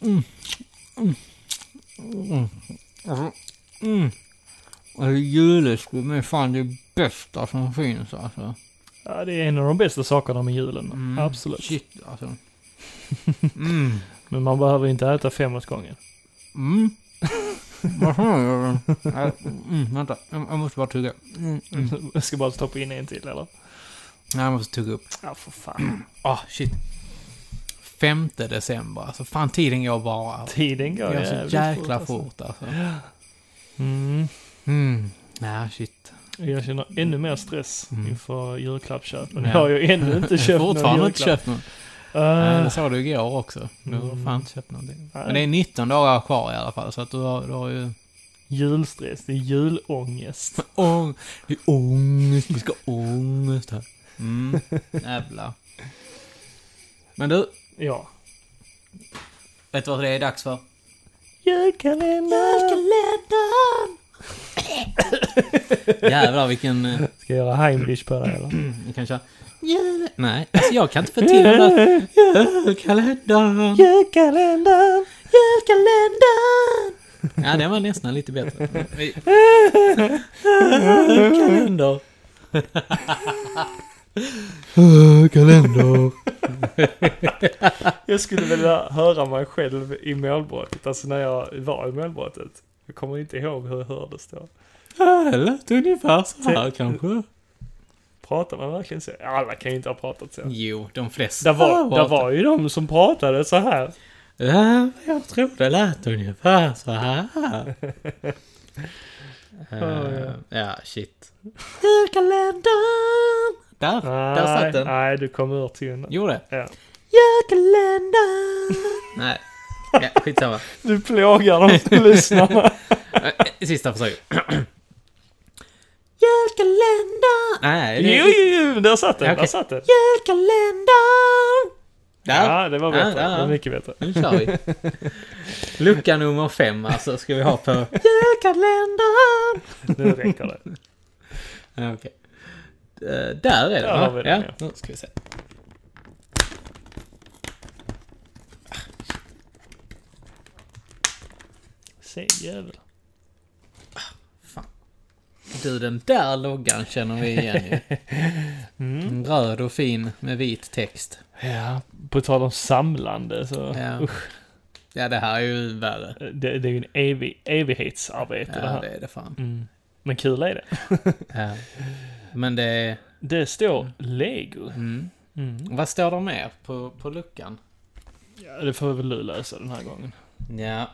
Mm. vinterskum är fan det bästa som finns alltså. Ja, det är en av de bästa sakerna med julen. Mm, Absolut. Shit alltså. Mm. Men man behöver inte äta fem åt gången. Mm. Vad fan gör du? Nej, Mm, vänta, jag jag måste bara tugga. Mm, mm. Jag ska bara stoppa in en till eller? Nej, jag måste tugga upp. Ja, för fan. Ah, shit. Femte december, alltså fan tiden går bara. alltså. Tiden Det går går jävligt så jäkla alltså. fort alltså. Mm. Mm. Nej, shit. Jag känner ännu mer stress Mm. inför julklappsköpen. Ja. Jag har ju ännu inte köpt någon julklapp. Fortfarande inte köpt någon. Nej, Ah, Eh, det sa du igår också. Du har Mm. fan inte köpt någonting. Nej. Men det är 19 dagar kvar i alla fall, så att du har, du har ju... julstress, det är julångest. Ång, det är ångest, vi ska ha ångest här. Mm, jävlar. Men du, Ja. vet du vad det är dags för? Julkalender! Jävlar vilken... eh, Ska jag göra Heimlich på dig eller? Vi kan köra... Jul... Nej, alltså jag kan inte få till den där... Julkalendern, Julkalender! julkalendern. Ja, den var nästan lite bättre. Vi- Julkalender. Kalender. Jag skulle vilja höra mig själv i målbrottet, alltså när jag var i målbrottet. Jag kommer inte ihåg hur jag hördes då. Ja, det lät ungefär Typ. så här kanske. Pratar man verkligen så? Alla kan ju inte ha pratat så. Jo, de flesta Det var, det pratar. var ju de som pratade så här. Ja, jag tror det lät ungefär så här. Eh, ja, shit. Julkalendern! Där, där satt den. nej, du kom ur tonen. Gjorde? Ja. Julkalendern! Nej, ja, skitsamma. Du plågar de som lyssnar. Eh, Sista försöket. Julkalendern! Nej, det Jo, är... jo, jo, där satt den, där Okej. satt den. Julkalendern! Där! Ja, det var Ja, bättre. ja, Det ja. var mycket bättre. Nu kör vi. Lucka nummer fem alltså ska vi ha på julkalendern. Nu räcker det. Ja, Okej. Eh, Där är den Där har va? vi den, ja. Nu ska vi se. Se jävel. Du den där loggan känner vi igen ju. En Röd och fin med vit text. Ja, på tal om samlande så. eh, Ja. Ja det här är ju värre. Det, det är ju en evig, evighetsarbete det Ja här. det är det fan. Mm. Men kul är det. Ja. Men det är... Det står Lego. Mm. Mm. Vad står det mer på, på luckan? Ja, det får väl du lösa den här gången. Ja.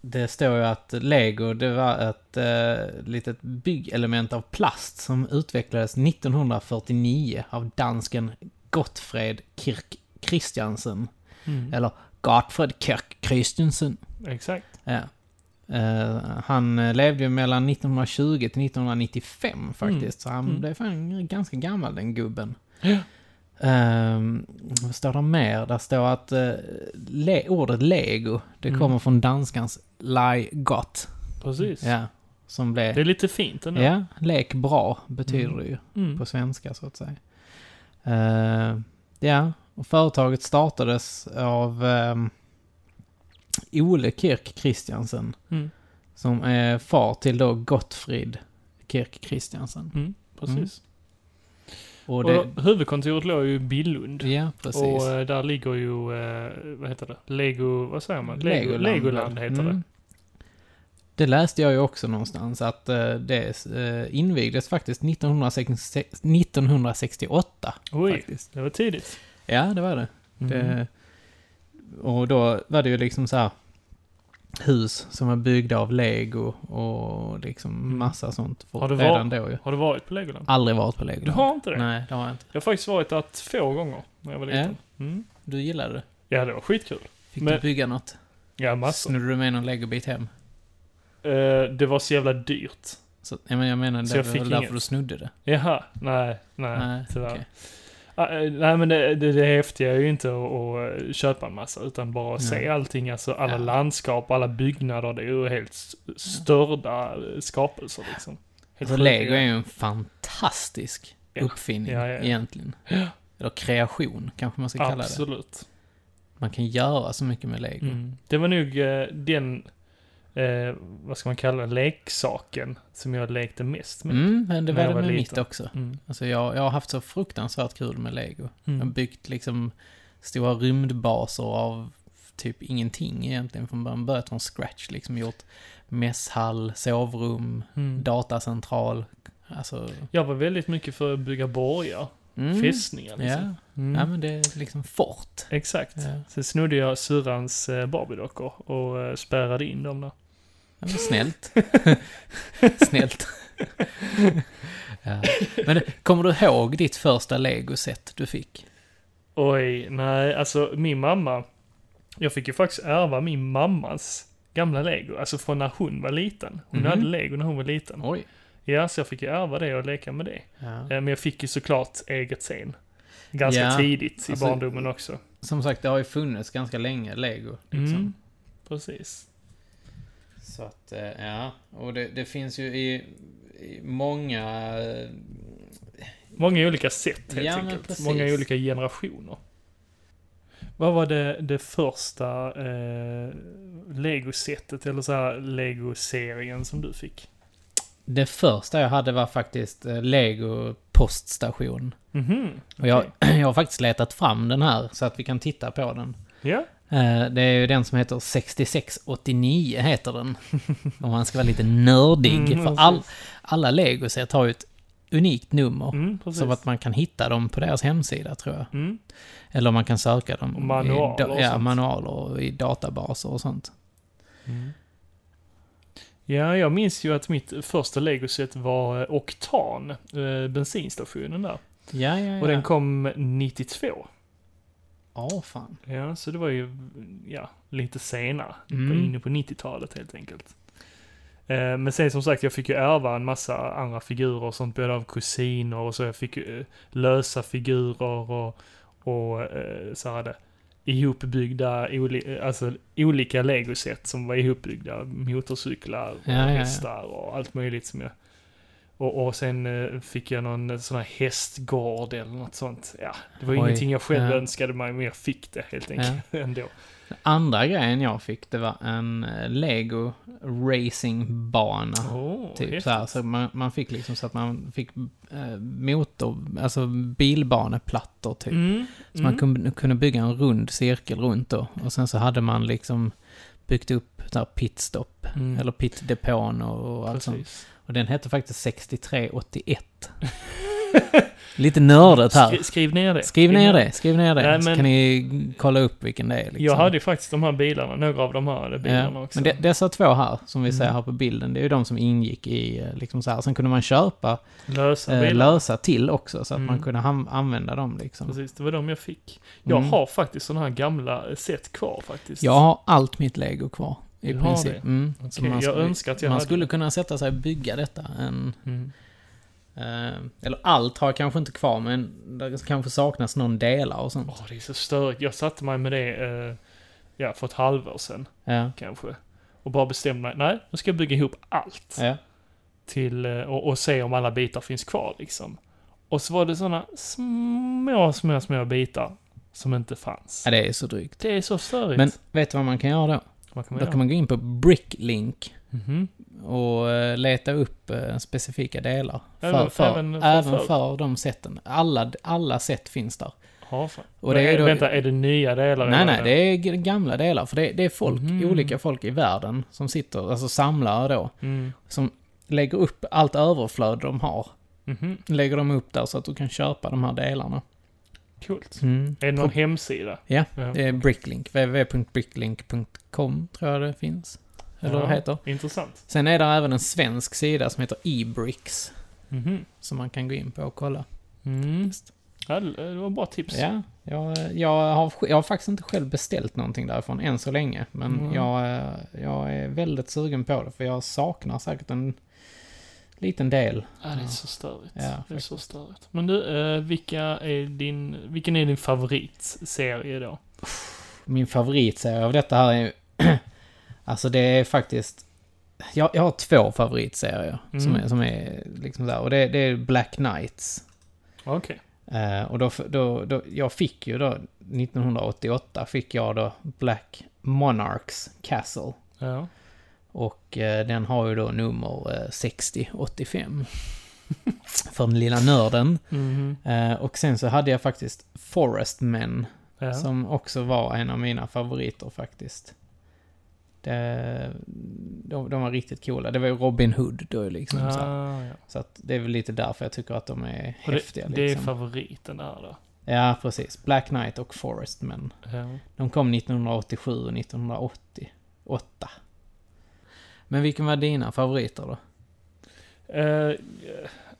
Det står ju att Lego, det var ett eh, litet byggelement av plast som utvecklades 1949 av dansken Gottfred Kirk Christiansen. Mm. Eller Gottfred Kirk Christiansen. Exakt. Ja. Eh, han eh, levde ju mellan 1920 till 1995 faktiskt, Mm. så han Mm. blev fan ganska gammal den gubben. Ja. Ehm, vad står det mer? Där står att eh, le- ordet lego, det Mm. kommer från danskans lie gott. Precis. Ja, som Det är blev... lite fint ändå. Ja, lek bra betyder det ju Mm. på svenska så att säga. Ehm, ja, och företaget startades av ehm, Ole Kirk Christiansen Mm. som är far till då Gottfrid Kirk Christiansen. Mm. Precis. Och Och det... huvudkontoret låg ju i Billund. ja, precis. Och eh, där ligger ju, eh, vad heter det? Lego, vad säger man? Lego, Legoland, heter Mm. det. Det läste jag ju också någonstans att eh, det eh, invigdes faktiskt 1966, 1968. Oj, Faktiskt. det var tidigt. Ja, det var det. Mm. det. Och då var det ju liksom så här hus som var byggda av lego och liksom Mm. massa sånt. För Har det redan då ju. Har du varit på Legoland? Aldrig varit på lego. Du har inte det? Nej, det har jag inte. Jag har faktiskt varit där två gånger när jag var liten. Mm. Du gillade det? Ja, det var skitkul. Fick Men- du bygga något? Ja, massor. Snodde du med någon legobit hem? Eh, det var så jävla dyrt. Så, ja, men jag menar, Så det jag var fick väl därför inget. du snodde det? Jaha, nej, nej, tyvärr. okej. Ah, eh, nej, men det, det, det häftiga är ju inte att, att eh, köpa en massa, utan bara att se Nej. allting. Alltså alla Ja. landskap, alla byggnader. Det är ju helt s- störda eh, skapelser liksom. Helt Alltså, sjuka Lego är grejer. ju en fantastisk Ja. uppfinning Ja, ja, ja. egentligen. Eller kreation, kanske man ska kalla det. Absolut. Man kan göra så mycket med Lego. Mm. Det var nog eh, den eh, vad ska man kalla den, leksaken som jag lekte mest med. Mm, men det När var jag det var med mitt liten. också. Mm. Alltså jag, jag har haft så fruktansvärt kul med lego. Jag har Mm. byggt liksom stora rymdbaser av typ ingenting egentligen från början. Börjat från scratch liksom. Gjort mässhall, sovrum, Mm. datacentral. Alltså... Jag var väldigt mycket för att bygga borgar, Mm. fästningar Ja. liksom. Mm. ja, men det är liksom fort. Exakt. Ja. Sen snodde jag syrrans eh, Barbie-dockor och eh, spärrade in dem där. Ja, men snällt. snällt. ja. Men kommer du ihåg ditt första legoset du fick? Oj, nej, alltså min mamma. Jag fick ju faktiskt ärva min mammas gamla lego, alltså från när hon var liten. Hon Mhm. hade lego när hon var liten. Oj. Ja, så jag fick ju ärva det och leka med det. Ja. Eh, Men jag fick ju såklart eget sen. Ganska Ja, tidigt i alltså- barndomen också. Som sagt, det har ju funnits ganska länge, lego. Liksom. Mm. Precis. Så att, eh, ja. Och det, det finns ju i, i många... eh, Många olika sätt helt Ja, men enkelt. precis. Många olika generationer. Vad var det, det första eh, Lego-sättet eller så här Lego-serien som du fick? Det första jag hade var faktiskt eh, lego poststation. Mhm. Och jag, jag har faktiskt letat fram den här så att vi kan titta på den. Ja. Eh, Det är ju den som heter 6689 heter den. Om man ska vara lite nördig. Mm, för all, alla legoset har ju ett unikt nummer. Mm, precis. Så att man kan hitta dem på deras hemsida tror jag. Mm. Eller man kan söka dem Och manualer i, da- och ja, sånt. manualer och i databaser och sånt. Mm. Ja, jag minns ju att mitt första legoset var eh, Oktan, eh, bensinstationen där. Ja, ja, ja. Och den kom 92. Åh, fan. Ja, så det var ju ja, lite senare. Mm. På- Inne på 90-talet helt enkelt. Eh, Men sen som sagt, jag fick ju ärva en massa andra figurer och sånt, både av kusiner och så. Jag fick ju eh, lösa figurer och, och eh, så här det ihopbyggda, oli- alltså olika legoset som var ihopbyggda. Motorcyklar och Ja, ja, ja. hästar och allt möjligt som jag... Och, och sen eh, fick jag någon sån här hästgård eller något sånt. Ja, det var ju Oj, ingenting jag själv ja. önskade mig, men jag fick det helt enkelt ändå. Andra grejen jag fick, det var en eh, lego racingbana. Oh, Typ häftigt. så här, så man, man fick liksom så att man fick eh, motor, alltså bilbaneplattor typ. Mm, Så mm. man kunde, kunde bygga en rund cirkel runt då. Och sen så hade man liksom byggt upp så här pitstop. Mm. Eller pitdepån och, och allt sånt. Precis. Och den hette faktiskt 6381. Lite nördigt här. Skri, skriv ner det. Skriv ner det, skriv ner det. Nej, Så men- kan ni kolla upp vilken det är. Liksom. Jag hade ju faktiskt de här bilarna, några av de här bilarna Ja, också. Men de, dessa två här, som vi Mm. ser här på bilden, det är ju de som ingick i eh, liksom så här. Sen kunde man köpa Lösa eh, bilar. lösa till också, så att Mm. man kunde ham- använda dem liksom. Precis, det var de jag fick. Jag Mm. har faktiskt sådana här gamla eh, set kvar faktiskt. Jag har allt mitt lego kvar. I Du har princip. det? Mm. Så Okej, man jag skulle, önskar att jag man hade skulle det. kunna sätta sig och bygga detta. En, Mm. eh, eller allt har jag kanske inte kvar, men det kanske saknas någon delar och sånt. Åh, det är så störigt. Jag satte mig med det, eh, ja, för ett halvår sedan Ja. kanske. Och bara bestämde mig, nej, nu ska jag bygga ihop allt. Ja. Till, eh, och, och se om alla bitar finns kvar liksom. Och så var det sådana små, små, små bitar som inte fanns. ja, det är så drygt. Det är så störigt. Men vet du vad man kan göra då? Vad kan man Då kan göra? man gå in på Bricklink Mhm. och eh, leta upp eh, specifika delar. Även- för, för, även även för för, förr? de seten. Alla, alla set finns där. Ja, fan. Och det är ju då- Vänta, är det nya delar? Nej, nej, det är g- gamla delar. För det, det är folk, Mhm. olika folk i världen som sitter, alltså samlare då, Mm. som lägger upp allt överflöd de har. Mhm. Lägger de upp där så att du kan köpa de här delarna. Coolt. Är det någon hemsida? Mm. Ja, ja. Det är Bricklink, www.bricklink.com tror jag det finns. Eller vad Ja. det heter. Intressant. Sen är det även en svensk sida som heter ebricks. Mhm. Som man kan gå in på och kolla. Mm. Ja, det det var bra tips. Ja, jag, jag, har, jag har faktiskt inte själv beställt någonting därifrån än så länge. Men Mm. jag, eh, jag är väldigt sugen på det för jag saknar säkert en liten del. Ja, det är så störigt. Ja, det är så störigt. Men du, eh, vilka är din, vilken är din favoritserie då? Min favoritserie av detta här är ju- Alltså det är faktiskt... Jag, jag har två favoritserier som Mm. är, som är liksom där. Och det, det är Black Knights. Okej. Eh, och då, då, då, jag fick ju då, 1988 fick jag då Black Monarchs Castle. Ja. Och eh, den har ju då nummer eh, 6085. För den lilla nörden. Mhm. Eh, och sen så hade jag faktiskt Forest Men, Ja. som också var en av mina favoriter faktiskt. Det, de, de var riktigt coola. Det var ju Robin Hood då liksom. Så, här. Ah, ja. så att det är väl lite därför jag tycker att de är Och häftiga. det, det är liksom. favoriten där då. Ja, precis. Black Knight och Forest Men. Ja. De kom 1987 och 1988. Men vilken var dina favoriter då? Eh,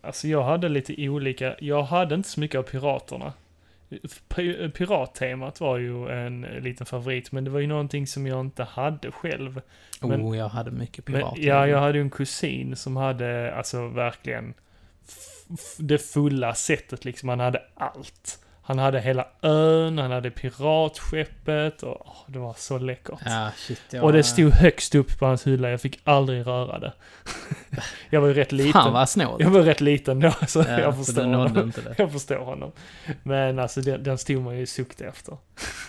alltså jag hade lite olika, jag hade inte så mycket av piraterna. Pi- Pirattemat var ju en liten favorit, men det var ju någonting som jag inte hade själv. Men- oh, jag hade mycket Men, pirater. ja, jag hade ju en kusin som hade, alltså verkligen, f- f- det fulla sättet liksom. Han hade allt. Han hade hela ön, han hade piratskeppet och åh, det var så läckert. Ja, shit. Jag... Och det stod högst upp på hans hylla, jag fick aldrig röra det. jag var ju rätt liten. Fan vad snålt. Jag var rätt liten då, så Ja, jag så förstår du nådde honom. inte det. Jag förstår honom. Men alltså den, den stod man ju i sukt efter.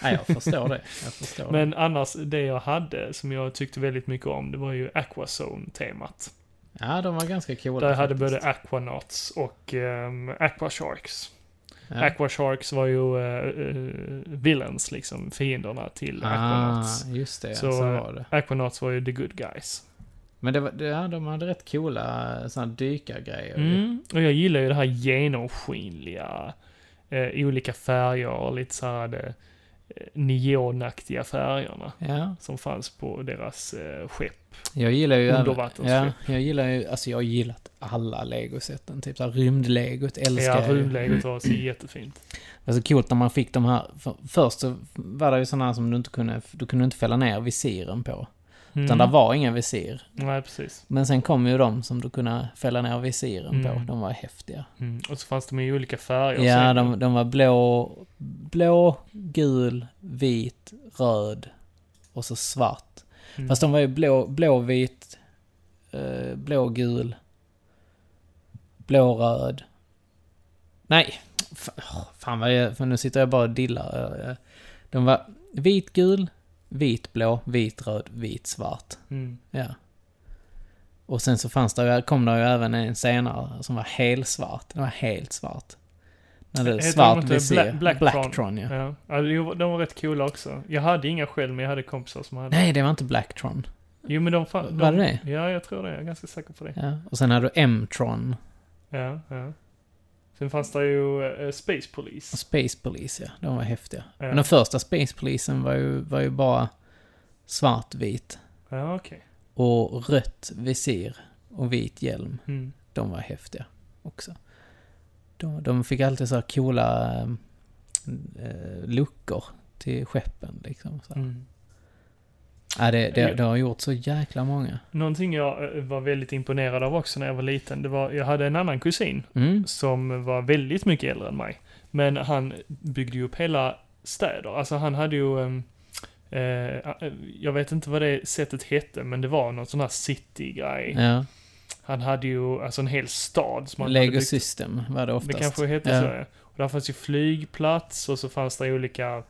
Nej, jag förstår det. Jag förstår Men annars, det jag hade som jag tyckte väldigt mycket om, det var ju Aquazone-temat. det. Ja, de var ganska coola. Där jag hade faktiskt. både Aquanauts och um, Aquasharks. Ja. Aquasharks var ju eh, eh, villains, liksom fienderna till Aquanauts. Ah, just det. Så, Så, var det. Aquanauts var ju the good guys. Men det var, det- ja, de hade rätt coola sådana dykargrejer. ju. Mm. Och jag gillar ju det här genomskinliga, eh, i olika färger och lite så här det, eh, neonaktiga färgerna Ja, som fanns på deras eh, skepp. jag gillar ju... Ja, Undervattensskepp. jag gillar ju... Alltså jag har gillat alla legosätten. Typ såhär rymdlegot älskar Ja, jag ju. rymdläget var så jättefint. Det var så coolt när man fick de här... För, först så var det ju sådana som du inte kunde... Du kunde inte fälla ner visiren på. Mm. Utan där var ingen visir. Nej, precis. Men sen kom ju de som du kunde fälla ner visiren på. Mm. De var häftiga. Mm. Och så fanns de i olika färger. Ja, säkert. de, de var blå, blå, gul, vit, röd och så svart. Mm. Fast de var ju blå, blå vit, eh, blå, gul, blå, röd. Nej, fa- åh, fan vad jag, för nu sitter jag bara och dillar. Eh, De var vit, gul, vit, blå, vit, röd, vit, svart. Mm. Ja. Och sen så fanns det, ju- kom det ju även en senare som var helt svart. Den var helt svart. När det är Heter de svart inte visir. Bla- Blacktron? ja. Ja. ja, det var- de var rätt coola också. Jag hade inga själv, men jag hade kompisar som hade. Nej, det var inte Blacktron. Jo, men de fanns. Var de... det Ja, jag tror det. Jag är ganska säker på det. Ja. Och sen hade du M-tron Ja, ja. Sen fanns det ju eh, Space Police. och Space Police, ja. De var häftiga. Ja. Alltså, Men den första Space Polisen var ju, var ju bara svartvit Ja, okej. och rött visir och vit hjälm. Mm. De var häftiga också. De, de fick alltid så här coola eh, eh, luckor till skeppen liksom. Så. här. Mm. Ja, det, det, det har gjort så jäkla många. Någonting jag eh, var väldigt imponerad av också när jag var liten, det var, jag hade en annan kusin Mm. som var väldigt mycket äldre än mig. Men han byggde ju upp hela städer. Alltså han hade ju, ehm, eh, eh, jag vet inte vad det sättet hette, men det var någon sån här city-grej. Ja. Han hade ju alltså en hel stad som han hade Lego byggt System var det Det oftast. kanske hette Ja. så, ja. Och där fanns ju flygplats och så fanns det olika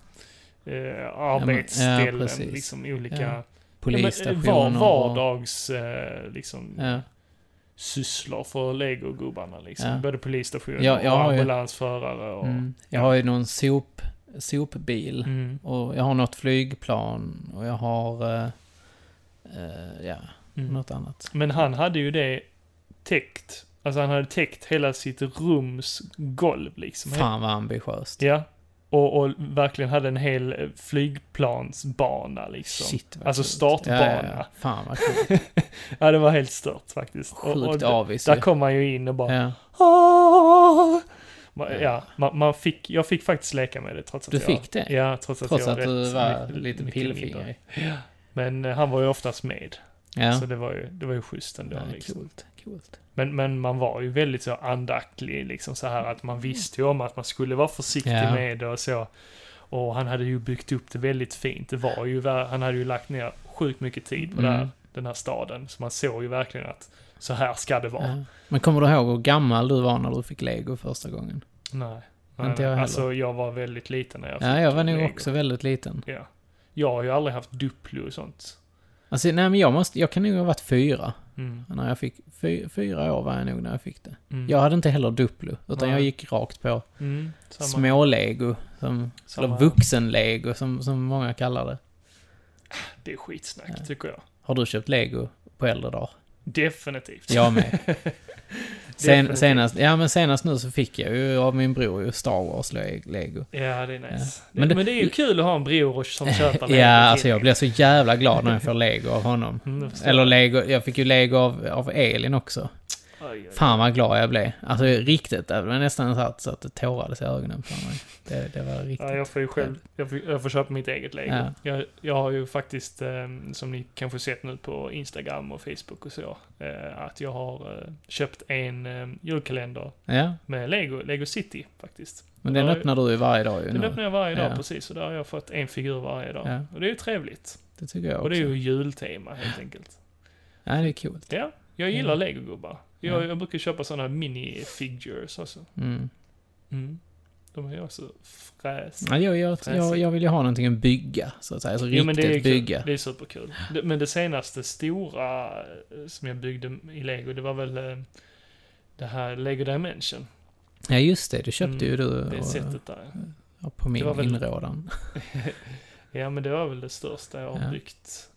eh, ja, arbetsställen, precis. liksom olika... Ja. Ja, men, eh, Polisstationer var, och... vardags, eh, liksom, Ja. sysslor för legogubbarna liksom. Ja. Både polisstationer Ja, jag och har ju- ambulansförare och... Mm. Jag har ju någon sop, sopbil. Mm, Och jag har något flygplan. Och jag har... eh, eh, ja, mm. något annat. Men han hade ju det täckt. Alltså han hade täckt hela sitt rums golv liksom. Fan vad ambitiöst. Ja. Och, och verkligen hade en hel eh, flygplansbana liksom. Shit vad Alltså coolt. startbana. Ja, ja, ja. Fan vad coolt. Ja, det var helt stört faktiskt. och, och Sjukt d- avis Där ju. kom man ju in och bara... Ja. "Åh!" Man, Ja. ja, man, man fick, jag fick faktiskt leka med det trots att Du jag... fick det? Ja, trots att Trots jag att du rätt var mycket- lite mycket mindre. pillfingrig. Men eh, han var ju oftast med. Ja. Så det var ju, det var ju schysst ändå. ja liksom. coolt, coolt. men, men man var ju väldigt så andaktlig liksom så här att man visste ju om att man skulle vara försiktig Mm. Ja. med det och så. Och han hade ju byggt upp det väldigt fint. Det var ju, ver- han hade ju lagt ner sjukt mycket tid på det här, Mm. den här staden. Så man såg ju verkligen att så här ska det vara. Ja. Men kommer du ihåg hur gammal du var när du fick lego första gången? Nej. Inte nej, jag heller. alltså jag var väldigt liten när jag Ja, jag var nog Lego. också väldigt liten. Ja. Jag har ju aldrig haft Duplo och sånt. Alltså, nej men jag måste, jag kan nog ha varit fyra. Mm. När jag fick, fy, fyra år var jag nog när jag fick det. Mm. Jag hade inte heller Duplo, utan Nej. jag gick rakt på Mm. Samma. smålego, som, Samma. eller vuxenlego som, som många kallar det. Det är skitsnack Ja. tycker jag. Har du köpt lego på äldre dagar? Definitivt. Jag med. Sen, Definitivt. senast, ja men senast nu så fick jag ju av min bror ju Star Wars le- lego. Ja, det är nice. Ja. Men Men, det- det, men det är ju kul att ha en bror som köper Ja, alltså jag blir så jävla glad när jag får lego av honom. Mm, Eller Eller... lego, jag fick ju lego av, av Elin också. Fan vad glad jag blev. Alltså riktigt, det var nästan så att, så att det tårades i ögonen på mig. Det, det var riktigt. Ja, jag får ju själv, jag får, jag får köpa mitt eget lego. Ja. Jag, jag har ju faktiskt, eh, som ni kanske sett nu på Instagram och Facebook och så, eh, att jag har eh, köpt en eh, julkalender Ja, med lego, lego city faktiskt. men den Ja, öppnar du ju varje dag ju Den nu. öppnar jag varje dag Ja. precis, och där har jag fått en figur varje dag. Ja. Och det är ju trevligt. Det tycker jag också. Och det är ju jultema helt enkelt. Ja, det är coolt. Ja, jag gillar Mm. legogubbar. Jag, Ja. jag brukar köpa sådana mini-figures också. Mm. De är ju också fräsiga. Ja, jag, jag, jag, jag vill ju ha någonting att bygga, så att säga. Alltså riktigt Jo, men det är kul. bygga. Det är superkul. Det, men det senaste stora eh, som jag byggde i lego, det var väl eh, det här Lego Dimension. Ja, just det. Det köpte Mm, ju du Det och, sättet där. ja, på min det var väl- inrådan. Ja, men det var väl det största jag har Ja. byggt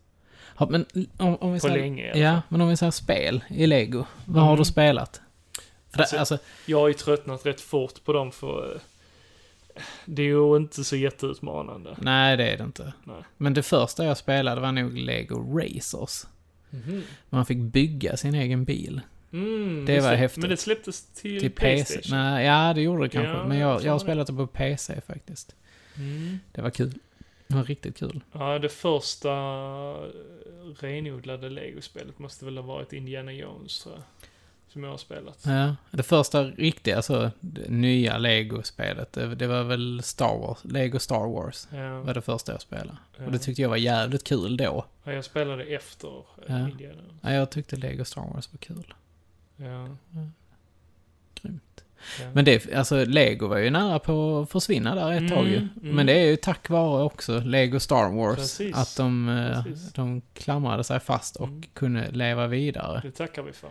Ja, men om, om vi på säger... länge. alltså. i alla Ja, fall. men om vi säger spel i Lego. Vad har Mm. du spelat? För det, Alltså- alltså, Jag har ju tröttnat rätt fort på dem för eh, det är ju inte så jätteutmanande. nej, det är det inte. Nej. Men det första jag spelade var nog Lego Racers. Mhm. Man fick bygga sin egen bil. Mm, Det just var häftigt. Men det släpptes till, Till PC. Playstation. Nej, ja, det gjorde det kanske. Ja, men jag jag, tror jag har det. spelat det på PC faktiskt. Mm. Det var kul. Det var riktigt kul. Ja, det första eh, renodlade legospelet måste väl ha varit Indiana Jones, tror jag. Som jag har spelat. Ja, det första riktiga, alltså, det nya Lego-spelet, det, det var väl Star Wars, Lego Star Wars. Ja, var det första jag spelade. Och det ja. tyckte jag var jävligt kul då. ja, jag spelade efter eh, Ja. Indiana Jones. Ja, jag tyckte Lego Star Wars var kul. Ja, Grymt. ja. Men det, alltså Lego var ju nära på att försvinna där ett Mm, tag ju. mm. Men det är ju tack vare också Lego Star Wars. Precis. Att de, eh, Precis. de klamrade sig fast och Mm. kunde leva vidare. det tackar vi för.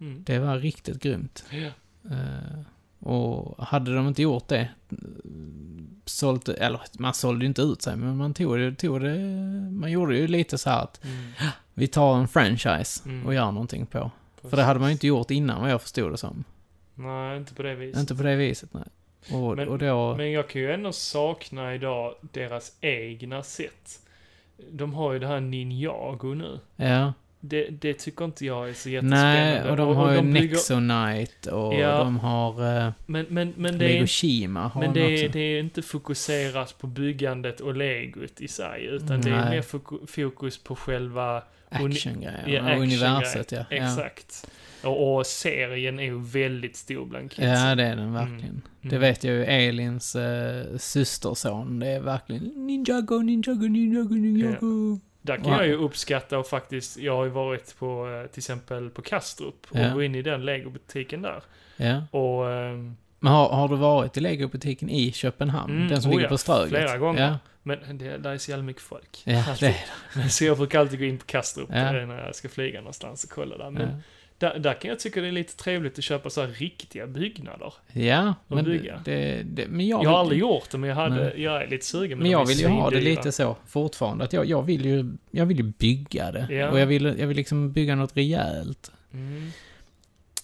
Mm. Det var riktigt grymt. Ja. Eh, och hade de inte gjort det, mm, sålt, eller man sålde ju inte ut sig, men man tog det, tog det, man gjorde ju lite så här att Mm. vi tar en franchise Mm. och gör någonting på. För det Precis. hade man ju inte gjort innan vad jag förstod det som. Nej, inte på det viset. Inte på det viset, nej. Och, Men- och då... Men jag kan ju ändå sakna idag deras egna sätt. De har ju det här Ninjago nu. ja. Det, det tycker inte jag är så jättespännande. Nej, och de har ju bygger- Nexonite och Ja. de har eh, Men, men, men det är Lego inte, Shima. Har men de det är, också. det är inte fokuserat på byggandet och legot i sig, utan det Nej. är mer foku- fokus på själva... uni- Actiongrejer. ja, Ja, actiongrejer. universet, ja. Ja. Exakt. Och, och serien är ju väldigt stor bland kidsen. ja, det är den verkligen. Mm. Det vet jag ju, Elins eh, systerson, det är verkligen Ninjago, Ninjago, Ninjago, Ninjago. Där kan Ja. jag ju uppskatta och faktiskt, jag har ju varit på eh, till exempel på Kastrup och Ja. gå in i den legobutiken där. Ja. Och ehm, Men har, har du varit i Lego-butiken i Köpenhamn? Mm, Den som oh ligger ja, på Ströget? flera gånger. Alltså, Ja, Men det, där är så jävla mycket folk. ja det Alltid. är Men så jag brukar alltid gå in på Kastrup Ja. eh, när jag ska flyga någonstans och kolla där. det. Men Ja. där, där kan jag tycka det är lite trevligt att köpa så här riktiga byggnader. Ja, Och men, bygga. det, det, men jag, Jag har vill- aldrig gjort det, men jag, hade, Nej. jag är lite sugen. Men de jag är vill ju ha det svindyra. lite så fortfarande. Att jag, jag, vill ju, jag vill ju bygga det. Ja. Och jag vill, jag vill liksom bygga något rejält. Mm.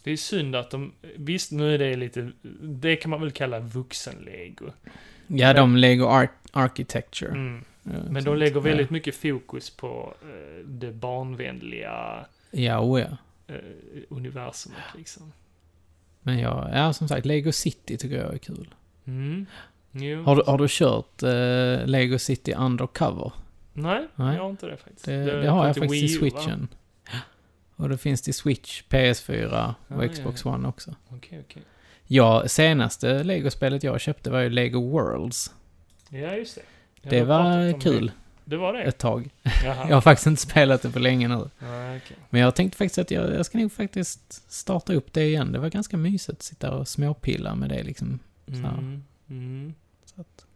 Det är synd att de, visst nu är det lite, det kan man väl kalla vuxenlego. Ja, Men- de Lego Arch Architecture. Mm. Ja, Men de sånt. lägger väldigt mycket fokus på eh, det barnvänliga Ja, ja, oh ja. eh, universumet liksom. Men jag, ja som sagt, Lego City tycker jag är kul. Mm. Jo. Har du, har du kört eh, Lego City Undercover? Nej, Nej. jag har inte det faktiskt. Det, är det, har på jag till faktiskt i Wii U, va? Switchen. Och det finns till Switch, PS4 och Ah, Xbox ja, One också. Okej, okej. Ja, senaste Lego-spelet jag köpte var ju Lego Worlds. Ja, just det. Ja, det vi har pratat var om kul Det, det var det? ett tag. Jaha. Jag har faktiskt inte spelat det på länge nu. Nej, okej. Men jag tänkte faktiskt att jag, jag ska nog faktiskt starta upp det igen. Det var ganska mysigt att sitta och småpilla med det liksom. Så. Mm. Mm. Så att,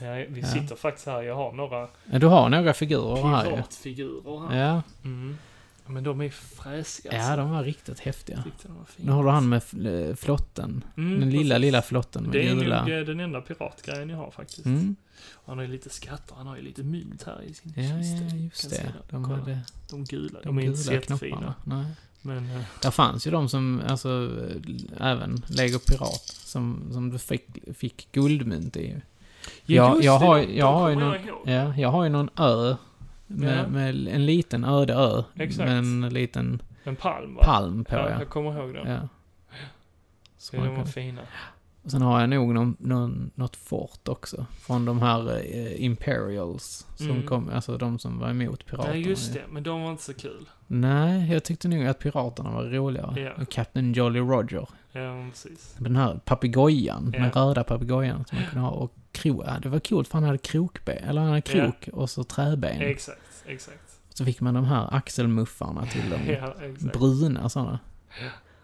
Ja, vi Ja. sitter faktiskt här. Jag har några Du har några figurer här ju. piratfigurer här. Ja. Mm. Men de är fräsiga. ja, de var riktigt häftiga. Tyckte de var fina. Nu har du han med fl- eh, flotten. Mm, Den lilla, precis. lilla flotten med Det är gula. nog eh, den enda piratgrejen jag har faktiskt. Mm. Han har ju lite skatter, han har ju lite mynt här i sin Ja, kista. ja, Du just kan det. se där. De Kolla, hade de gula. de De är inte så gula jättefina. knopparna. Nej. Men eh, Där fanns ju de som, alltså, eh, även Lego Pirat, som, som du fick, fick guldmynt i. Ja, just jag det, har- de- de jag har ju kommer någon- jag ihåg. Ja, jag har ju någon ö. Med, Ja. med en liten öde ö. Exakt. Med en liten En palm va? palm på, ja, ja. jag kommer ihåg den. ja. Så Så man de var kan. fina. Och sen har jag nog någon, någon, något fort också. Från de här eh, Imperials. Som Mm. kom, alltså de som var emot piraterna. Nej, just ju. det. Men de var inte så kul. Nej, jag tyckte nog att piraterna var roligare. Ja. Och Captain Jolly Roger. Ja, men precis. Den här papegojan, Ja. den röda papegojan som man kunde ha. Och kro, ja, det var coolt för han hade krokben, eller han hade krok och så träben. Exakt, exakt. Så fick man de här axelmuffarna till dem. Ja, exakt. Bruna sådana.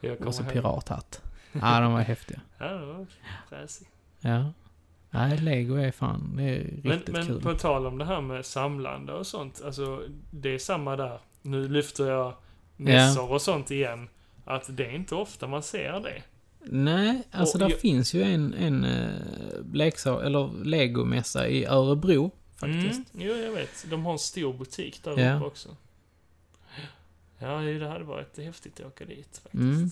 Jag kommer Och så ihåg. pirathatt. Ja, de var häftiga. Ja, det var fräsigt. Ja. Nej, lego är fan, det är Men, riktigt men kul. på tal om det här med samlande och sånt, alltså det är samma där. Nu lyfter jag nissor och sånt igen. Att det är inte ofta man ser det. Nej, alltså Och där jag- finns ju en, en eh, leksak, eller legomässa i Örebro faktiskt. Mm, jo, jag vet. De har en stor butik där Ja. uppe också. Ja, det hade varit häftigt att åka dit faktiskt. Mm.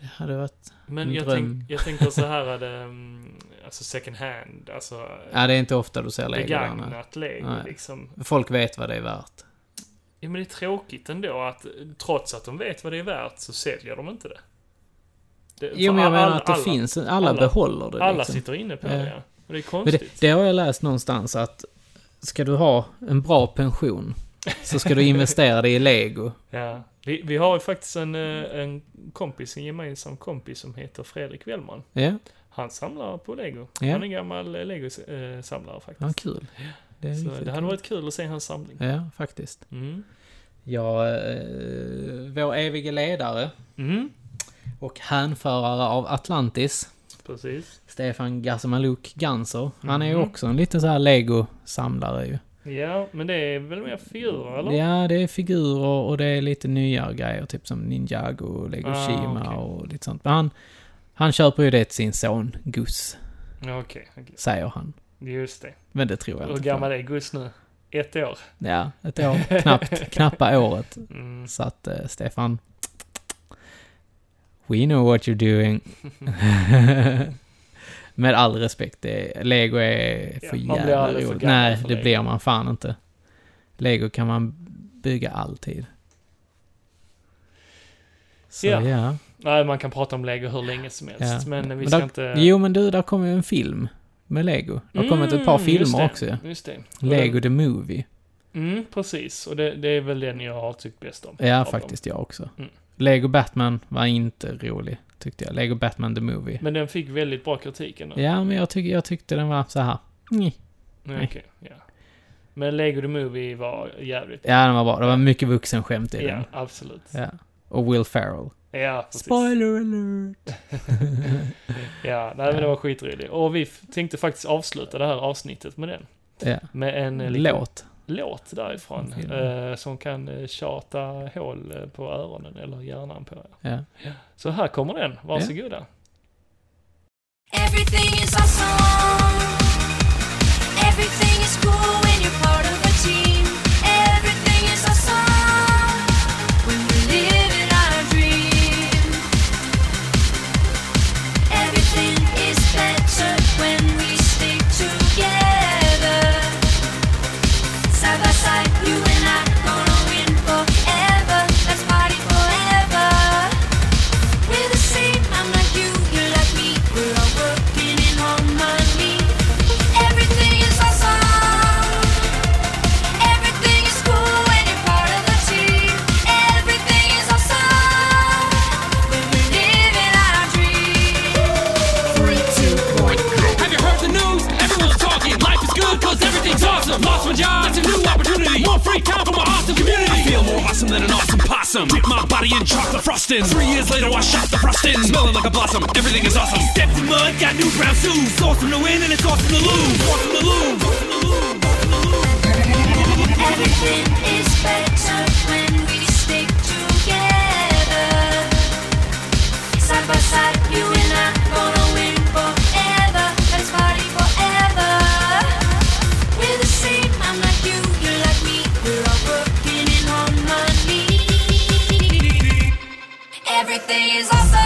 Det hade varit... Men En jag, dröm. tänk, jag tänker så här att, um, alltså second hand, alltså Ja, det är inte ofta du ser lego där. nej. begagnat lego Nej. liksom. Folk vet vad det är värt. Ja, men det är tråkigt ändå att eh, trots att de vet vad det är värt så säljer de inte det. det Jo, för men jag all- menar att det alla, finns, alla, alla alla- behåller det Alla liksom. sitter inne på Ja. det, ja. Och det är Men konstigt. det, det har jag läst någonstans att ska du ha en bra pension så ska du investera det i lego. Ja. Vi, vi har ju faktiskt en, eh, en kompis, en gemensam kompis som heter Fredrik Wellman. Ja, Han samlar på lego. Ja. Han är en gammal eh, lego-samlare ja faktiskt. kul. Det är så riktigt det hade kul. varit kul att se hans samling. Ja, faktiskt. Mm. Ja, eh, vår evige ledare Mm. och hänförare av Atlantis, Precis. Stefan Gassemaluk Ganser, han är ju Mhm. också en liten så här lego-samlare ju. Ja, men det är väl mer figurer, eller? Ja, det är figurer och det är lite nyare grejer, typ som Ninjago och Lego Ah, Shima okej. och lite sånt. Men han, han köper ju det till sin son Gus, Ja. Okej, okej. säger han. Just det. Men det tror jag Hur inte. gammal är Gus nu? Ett år? Ja, ett år. Knappt, knappa året. Mm. Så att eh, Stefan... We know what you're doing. Med all respekt, det, Lego är Ja, för man blir jävla aldrig för roligt. gammal Nej, för det Lego. blir man fan inte. Lego kan man bygga alltid. Så Ja. Eh. ja. Nej, man kan prata om Lego hur länge som helst, Ja. men vi Men ska där- inte... Jo, men du, där kommer ju en film med Lego. Det har kommit ett par Mm, just filmer det, också. Just det. Och Lego the Movie. den- Mm, precis. Och det, det är väl den jag har tyckt bäst om. Ja, av dem. faktiskt jag också. Mm. Lego Batman var inte rolig, tyckte jag. Lego Batman the Movie. Men den fick väldigt bra kritik ändå. Ja, men jag, tyck jag tyckte den var så här. Mm. Mm, okej, ja. Men Lego the Movie var jävligt... Ja, den var bra. Det var mycket vuxenskämt i Ja, den. absolut. Ja. Och Will Ferrell. Ja, precis. Spoiler alert! Ja, nej, men det var skitroligt. Och vi f- tänkte faktiskt avsluta det här avsnittet med den. Ja. Med en eh, liten Låt. låt därifrån. Fin. Eh, som kan eh, tjata hål eh, på öronen eller hjärnan på er. Ja. Så här kommer den. Varsågoda. Everything is awesome. Everything is cool when you're part of a team. Everything is awesome when we live in our dream. Everything is better when we stick together. Side by side, you and I gonna win forever. Let's party forever. We're the same. I'm like you, you're like me. We're all working in harmony. Everything is awesome. awesome. Dip my body in chocolate frosting. Three years later, I shot the frosting. Smelling like a blossom. Everything is awesome. Stepped in mud, got new brown shoes. Awesome to win, and it's awesome to lose. Awesome to lose. Awesome to lose. Awesome to lose. Everything is better when we stick together. Side by side, you and I gonna win forever. Let's party forever. We're the same. I'm like you, you're like me. We're all working in harmony. Everything is awesome.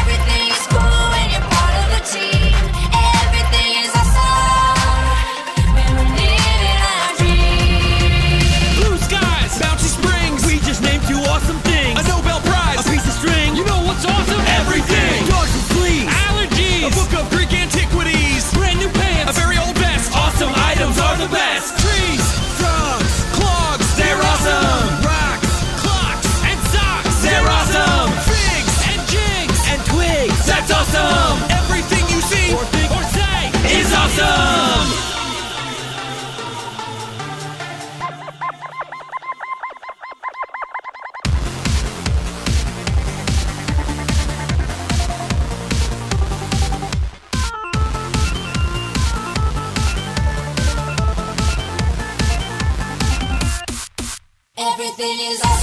Everything is cool when you're part of the team. Everything is awesome when we're living our dreams. Blue skies, bouncy springs. We just named two awesome things. A Nobel Prize, a piece of string. You know what's awesome? Everything. Dogs and fleas, allergies, a book of Greek antiquities, brand new pants, a very old vest. Awesome items are the best. Trees, frogs, clogs, they're awesome. Rocks, clocks, and socks, they're awesome. Figs and jigs and twigs, that's awesome. Everything you see or think or say is awesome. Everything is awesome.